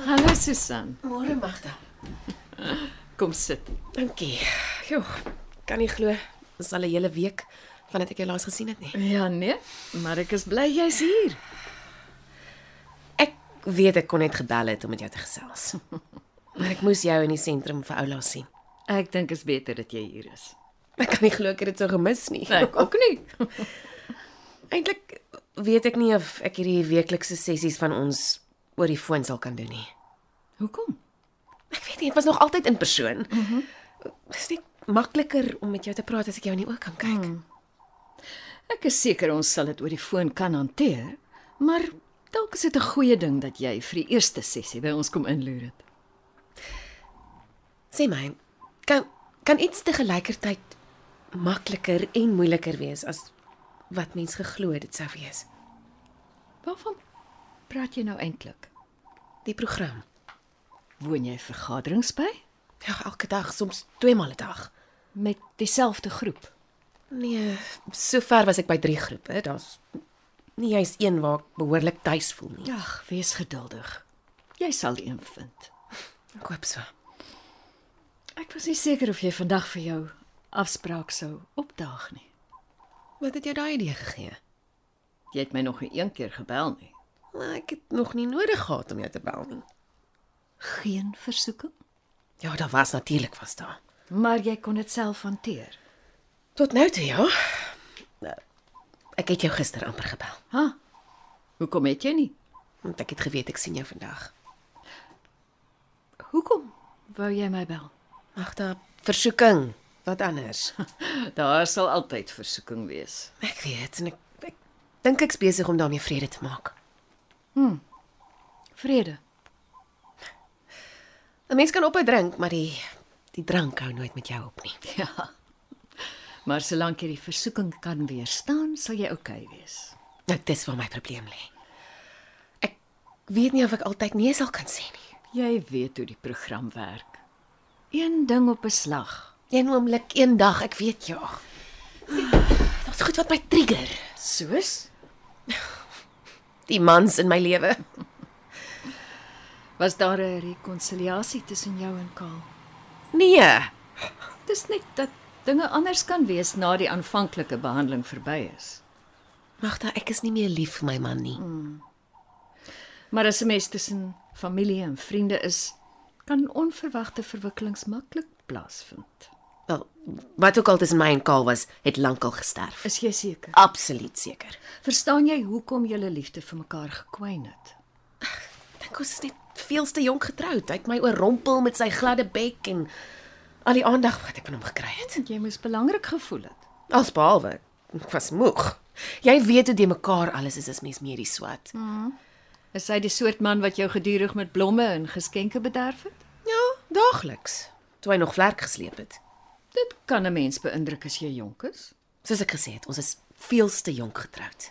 Hallo Susan, Môre Magda. kom sit. Dankie. Jo, kan nie glo dis al 'n hele week vandat ek jou laas gesien het nie. Ja nee, maar ek is bly jy's hier. Ek weet ek kon net gebel het om met jou te gesels. Maar ek moes jou in die sentrum vir Oula sien. Ek dink is beter dat jy hier is. Ek kan nie glo ek het dit so gemis nie. Nee, Ek ook nie. Nee. Eintlik weet ek nie of ek hierdie weeklikse sessies van ons oor die foon sal kan doen nie. Hoekom? Ek weet nie, dit was nog altyd in persoon. Dit mm -hmm. is net makliker om met jou te praat as ek jou in die oë kan kyk. Mm. Ek is seker ons sal dit oor die foon kan hanteer, maar dalk is dit 'n goeie ding dat jy vir die eerste sessie by ons kom inloer het. Sê my, kan kan iets te gelykertyd makliker en moeiliker wees as wat mens geglo het dit sou wees. Waarvan praat jy nou eintlik? Die program. Woon jy vergaderings by Ja, elke dag, soms twee maal 'n dag. met dieselfde groep? Nee, sover was ek by drie groepe. Daar's nie juis een waar ek behoorlik tuis voel nie. Ag, wees geduldig. Jy sal een vind. Ek hoop so. Ek was nie seker of jy vandag vir jou afspraak sou opdaag nie. Wat het jou daai idee gegee? Jy het my nog nie een keer gebel nie. Maar Nou, ek het nog nie nodig gehad om jou te bel nie. Geen versoeking, Ja, daar was natuurlik was daar. maar jy kon dit self hanteer. Tot nou toe, ja. Ek het jou gister amper gebel, Ha. Hoekom het jy nie? want ek het geweet ek sien jou vandag. Hoekom wou jy my bel? Magda, versoeking. Wat anders? Daar sal altyd versoeking wees. Ek weet en ek, ek dink ek's besig om daarmee vrede te maak. Vrede. 'n Mens kan ophou drink, maar die die drank hou nooit met jou op nie. Ja. Maar solank jy die versoeking kan weerstaan, sal jy oukei okay wees. Nou dis waar my probleem lê. Ek weet nie of ek altyd nee sal kan sê nie. Jy weet hoe die program werk. Een ding op 'n slag. Een oomblik, een dag, ek weet ja. Daar's goed wat my trigger. Soos Die mans in my lewe. was daar 'n rekonsiliasie tussen jou en Kaal. Nee. Dis net dat dinge anders kan wees na die aanvanklike behandeling verby is. Magda, ek is nie meer lief vir my man nie. Maar as 'n mens tussen familie en vriende is, kan onverwagte verwikkelings maklik plaasvind. Wel, wat ook al tussen my en Kaal was, het lankal gesterf. Is jy seker? Absoluut seker. Verstaan jy hoekom julle liefde vir mekaar gekwyn het? Dink ons is net veels te jonk getroud. Hy het my oorrompel met sy gladde bek en al die aandag wat ek van hom gekry het. Jy moes belangrik gevoel het. Alsbehalwe, ek was moeg. Jy weet hoe die mekaar alles is as mens meer die swat. Hmm. Is hy die soort man wat jou gedurig met blomme en geskenke bederf het? Ja, daagliks. Toe hy nog vlerk gesleep het. Dit kan 'n mens beïndruk as jy jonk is. Soos ek gesê het, ons is veels te jonk getroud.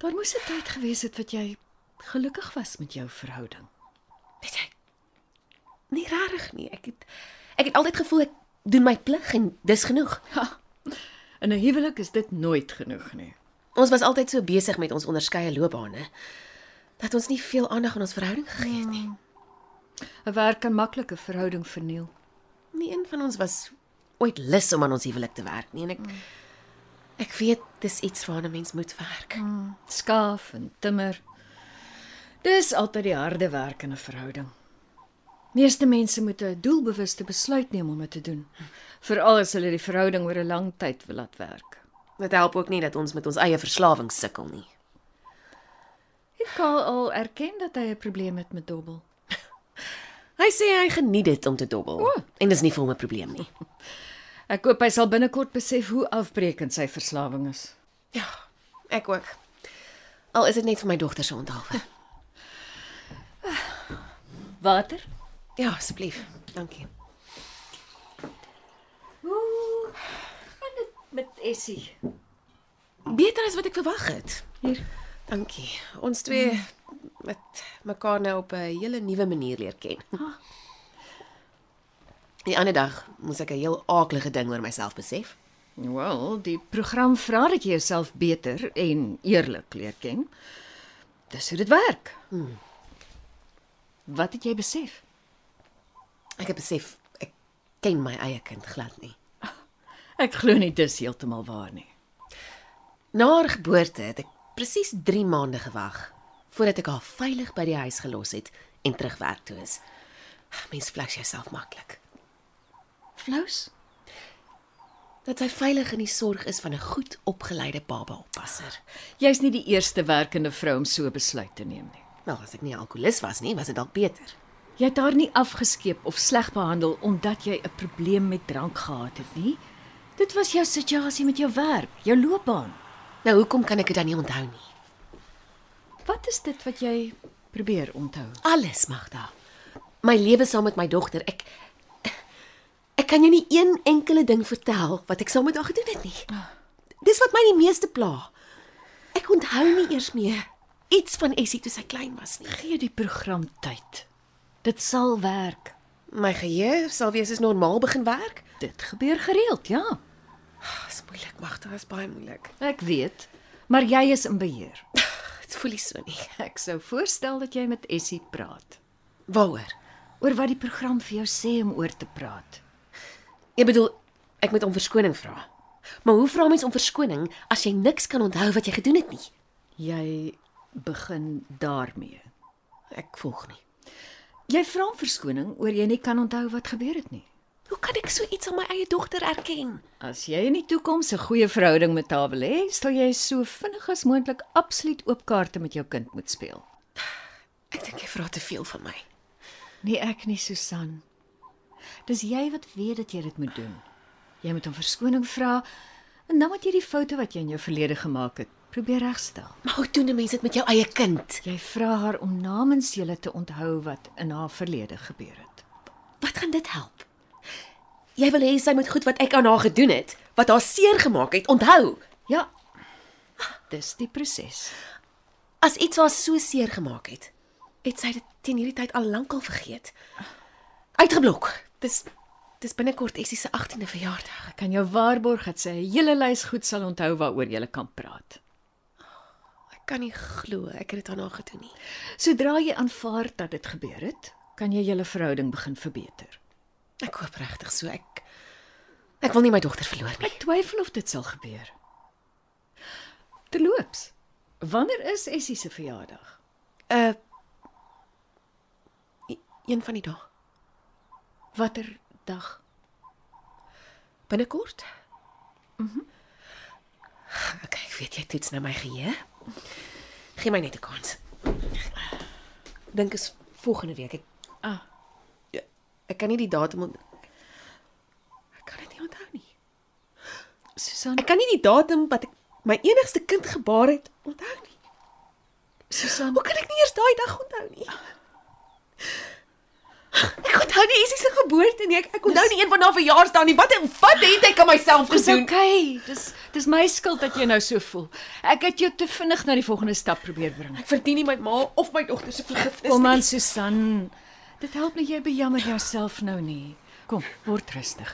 Daar moes 'n tyd gewees het wat jy gelukkig was met jou verhouding. Weet jy? Nie rarig nie. Ek het ek het altyd gevoel ek doen my plig en dis genoeg. In 'n huwelik is dit nooit genoeg nie. Ons was altyd so besig met ons onderskeie loopbane dat ons nie veel aandag aan ons verhouding gegee het nie. 'n Werk kan maklik 'n verhouding verniel. Nie een van ons was ooit lus om aan ons huwelik te werk nie en ek mm. ek weet dis iets waaraan 'n mens moet werk. Mm. Skaaf en timmer. Dis altyd die harde werk in 'n verhouding. Meeste mense moet 'n doelbewuste besluit neem om dit te doen, veral as hulle die verhouding oor 'n lang tyd wil laat werk. Dit help ook nie dat ons met ons eie verslawing sukkel nie. Ek kan al erken dat hy 'n probleem het met dobbel. Hy sê hy geniet dit om te dobbel oh. en dis nie vir hom 'n probleem nie. Ek hoop hy sal binnekort besef hoe afbreekend sy verslawing is. Ja, ek ook. Al is dit net vir my dogter se onthaalwe. Water? Ja, asseblief. Dankie. Hoe gaan dit met Essie? Beter as wat ek verwag het. Hier. Dankie. Ons twee met mekaar nou op 'n hele nuwe manier leer ken. Die ander dag moes ek 'n heel aaklige ding oor myself besef. Wel, die program vra dat jy jouself beter en eerlik leer ken. Dis hoe dit werk. Hmm. Wat het jy besef? Ek het besef ek ken my eie kind glad nie. Ek glo nie dis heeltemal waar nie. Na haar geboorte het ek presies 3 maande gewag voordat ek haar veilig by die huis gelos het en terug werk toe is. Mens flash jouself maklik. Flous? Dat sy veilig in die sorg is van 'n goed opgeleide baba-oppasser. Jy's nie die eerste werkende vrou om so besluit te neem nie. Nou, as ek nie 'n alkolikus was nie, was dit dalk beter. Jy het haar nie afgeskeep of sleg behandel omdat jy 'n probleem met drank gehad het nie. Dit was jou situasie met jou werk, jou loopbaan. Nou hoekom kan ek dit dan nie onthou nie? Wat is dit wat jy probeer onthou? Alles, Magda. My lewe saam met my dogter. Ek ek kan jou nie een enkele ding vertel wat ek saam met haar gedoen het nie. Dis wat my die meeste pla. Ek onthou nie eers meer iets van Essie toe sy klein was nie. Gee die program tyd. Dit sal werk. My geheue sal weer soos normaal begin werk. Dit gebeur gereeld, ja. Dis moeilik, Magda, is baie moeilik. Ek weet, maar jy is in beheer. Dit voel nie so nie. Ek sou voorstel dat jy met Essie praat Waaroor? oor wat die program vir jou sê om oor te praat. Ek bedoel, ek moet om verskoning vra. Maar hoe vra mens om verskoning as jy niks kan onthou wat jy gedoen het nie? Jy begin daarmee. Ek volg nie. Jy vra om verskoning oor jy nie kan onthou wat gebeur het nie. Hoe kan ek so iets aan my eie dogter erken? As jy in die toekoms 'n goeie verhouding met haar wil hê, sal jy so vinnig as moontlik absoluut oop kaarte met jou kind moet speel. Ek dink jy vra te veel van my. Nee, ek nie, Susan. Dis jy wat weet dat jy dit moet doen. Jy moet om verskoning vra en dan moet jy die foute wat jy in jou verlede gemaak het, probeer regstel. Maar hoe doen 'n mens dit met jou eie kind? Jy vra haar om namens julle te onthou wat in haar verlede gebeur het. Wat gaan dit help? Jy wil hê sy moet goed wat ek aan haar gedoen het, wat haar seer gemaak het, onthou. Ja. Dis die proses. As iets haar so seer gemaak het, het sy dit teen hierdie tyd al lankal vergeet. Uitgeblok. Dis dis binnekort Essie se 18de verjaardag. Ek kan jou waarborg dat sy 'n hele lys goed sal onthou waaroor jy kan praat. Ek kan nie glo ek het dit aan haar gedoen nie. Sodra jy aanvaar dat dit gebeur het, kan jy julle verhouding begin verbeter. Ek hoop regtig so. Ek ek wil nie my dogter verloor nie. Ek twyfel of dit sal gebeur. Terloops, wanneer is Essie se verjaardag? Uh e- een van die dae. Watter dag? Binnekort? Mhm. Mm okay, ek weet jy toets nou my geheue. Gee my net 'n kans. Dink is volgende week. Ek Ah, ek kan nie die datum on... Ek kan dit nie onthou nie. Susan, Ek kan nie die datum wat ek my enigste kind gebaar het onthou nie. Susan, Hoe kan ek nie eers daai dag onthou nie? Ek onthou nie Essie se geboorte nie. Ek, ek onthou nie een van haar verjaarsdae nie. Wat wat het ek aan myself dis gedoen? okay. Dis dis my skuld dat jy nou so voel. Ek het jou te vinnig na die volgende stap probeer bring. Ek verdien nie my ma of my dogter se vergifnis Kom aan, Susan. Dit help nie jy bejammer jouself nou nie. Kom, word rustig.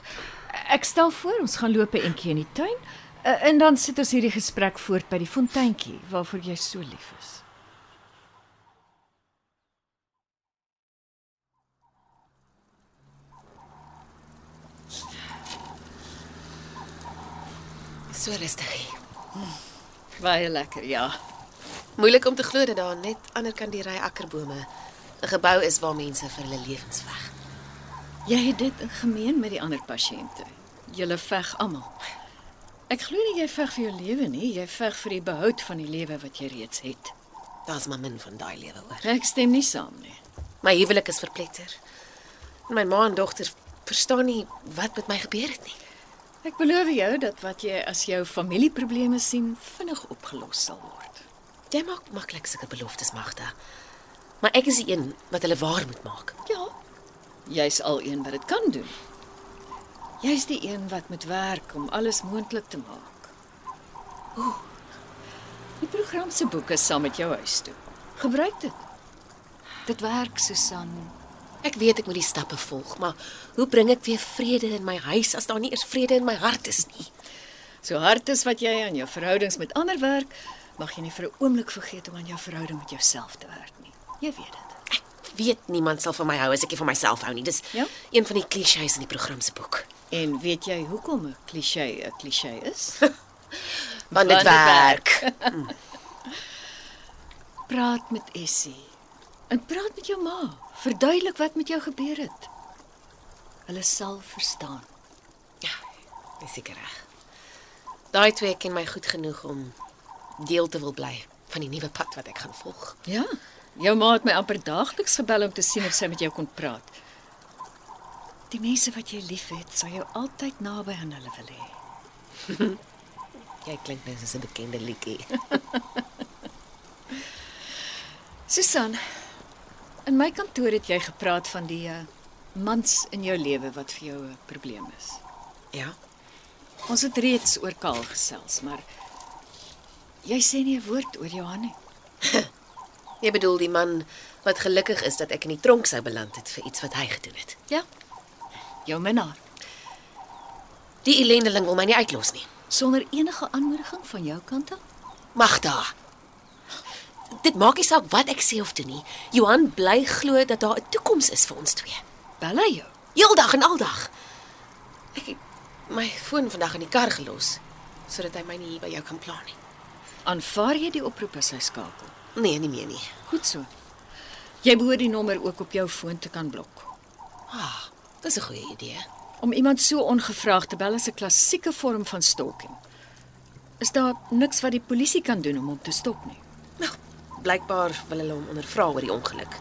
Ek stel voor ons gaan loop 'n entjie in die tuin eh, en dan sit ons hierdie gesprek voort by die fonteintjie waarvoor jy so lief is. So rustig. hier. Baie lekker, ja. Moeilik om te glo dat daar net ander kan die ry akkerbome 'n gebou is waar mense vir hulle lewens veg. Jy het dit in gemeen met die ander pasiënte. Julle veg almal. Ek glo nie jy veg vir jou lewe nie, jy veg vir die behoud van die lewe wat jy reeds het. Daar's maar min van daai lewe hoor. Ek stem nie saam nie. My huwelik is verpletter. En My ma en dogter verstaan nie wat met my gebeur het nie. Ek beloof jou dat wat jy as jou familieprobleme sien, vinnig opgelos sal word. Jy maak maklik sulke beloftes, Magda. maar ek is die een wat hulle waar moet maak. Ja. Jy's al een wat dit kan doen. Jy's die een wat moet werk om alles moontlik te maak. Ooh. Die program se boek is saam met jou huis toe. Gebruik dit. Dit werk, Susan. Ek weet ek moet die stappe volg, maar hoe bring ek weer vrede in my huis as daar nie eers vrede in my hart is nie? So hard as wat jy aan jou verhoudings met ander werk, mag jy nie vir 'n oomblik vergeet om aan jou verhouding met jouself te werk nie. Jy weet dit. Ek weet niemand sal van my hou as ek nie van myself hou nie. Dis Ja? een van die klisjées in die program se boek. En weet jy hoekom 'n klise 'n klise is? Want Want dit dit werk. Praat met Essie. En praat met jou ma. Verduidelik wat met jou gebeur het. Hulle sal verstaan. Ja, dis seker reg. Daai twee ken my goed genoeg om deel te wil bly van die nuwe pad wat ek gaan volg. Ja. Jou ma het my amper daagliks gebel om te sien of sy met jou kon praat. Die mense wat jy liefhet, sal jou altyd naby aan hulle wil hê. Jy klink nou soos 'n bekende liedjie. Susan, in my kantoor het jy gepraat van die eh, mans in jou lewe wat vir jou 'n probleem is. Ja. Ons het reeds oor Kaal gesels, maar jy sê nie 'n woord oor Johan nie. Jy bedoel die man wat gelukkig is dat ek in die tronk sou beland het vir iets wat hy gedoen het. Ja. Jou minnaar. Die ellendeling wil my nie uitlos nie. Sonder enige aanmoediging van jou kant af? Magda. Dit maak nie saak wat ek sê of doen nie. Johan bly glo dat daar 'n toekoms is vir ons twee. Bel hy jou? Heeldag en aldag. Ek het my foon vandag in die kar gelos sodat hy my nie hier by jou kan pla nie. Aanvaar jy die oproep as hy skakel? Nee, nie meer nie. Goed so. Jy behoort die nommer ook op jou foon te kan blok. Ah, dis 'n goeie idee. Om iemand so ongevraagd te bel is 'n klassieke vorm van stalking. Is daar niks wat die polisie kan doen om hom te stop nie? Nou, blykbaar wil hulle hom ondervra oor die ongeluk.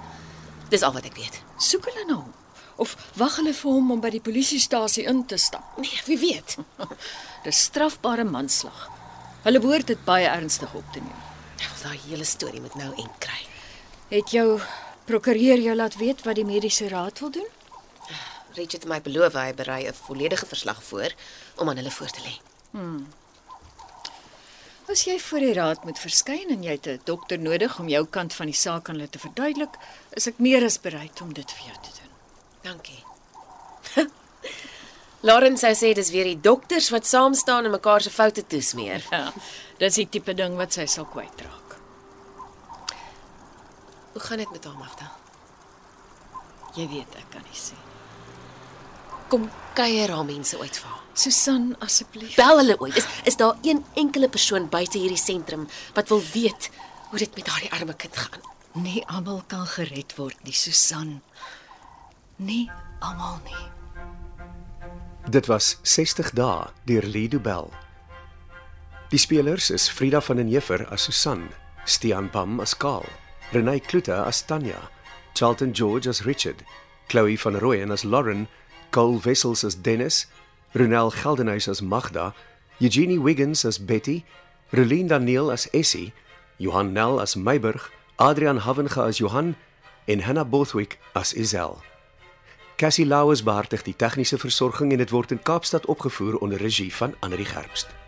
Dis al wat ek weet. Soek hulle na hom of wag hulle vir hom om by die polisiestasie in te stap? Nee, wie weet. Dis strafbare manslag. Hulle behoort dit baie ernstig op te neem. Wel, daai hele storie moet nou end kry. Het jou prokureur jou laat weet wat die mediese raad wil doen? Richard het my beloof hy berei 'n volledige verslag voor om aan hulle voor te lê. As jy voor die raad moet verskyn en jy het 'n dokter nodig om jou kant van die saak aan hulle te verduidelik, is ek meer as bereid om dit vir jou te doen. Dankie. Lauren sou sê dis weer die dokters wat saam staan en mekaar se foute toesmeer. Ja, dis die tipe ding wat sy sal kwytraak. Hoe gaan dit met haar Magda? Jy weet ek kan nie sê. nie. Kom kuier haar mense ooit vir haar. Susan, asseblief. Bel hulle ooit. Is is daar een enkele persoon buite hierdie sentrum wat wil weet hoe dit met daardie arme kind gaan? Nie almal kan gered word nie, Susan. Nie almal nie. Dit was 60 dae deur Lido Bell. Die spelers is Frida van den Heever as Susan, Stian Pam as Karl, Renay Klute as Tanya, Charlton George as Richard, Chloe van Rooyen as Lauren, Cole Wessels as Dennis, Ronel Geldenhuys as Magda, Eugenie Wiggins as Betty, Relien Daniel as Essie, Johan Nel as Meiburg, Adrian Havenga as Johan en Hannah Bothwick as Isel. Cassie Lauers behartig die tegniese versorging en dit word in Kaapstad opgevoer onder regie van Anri Gerbst.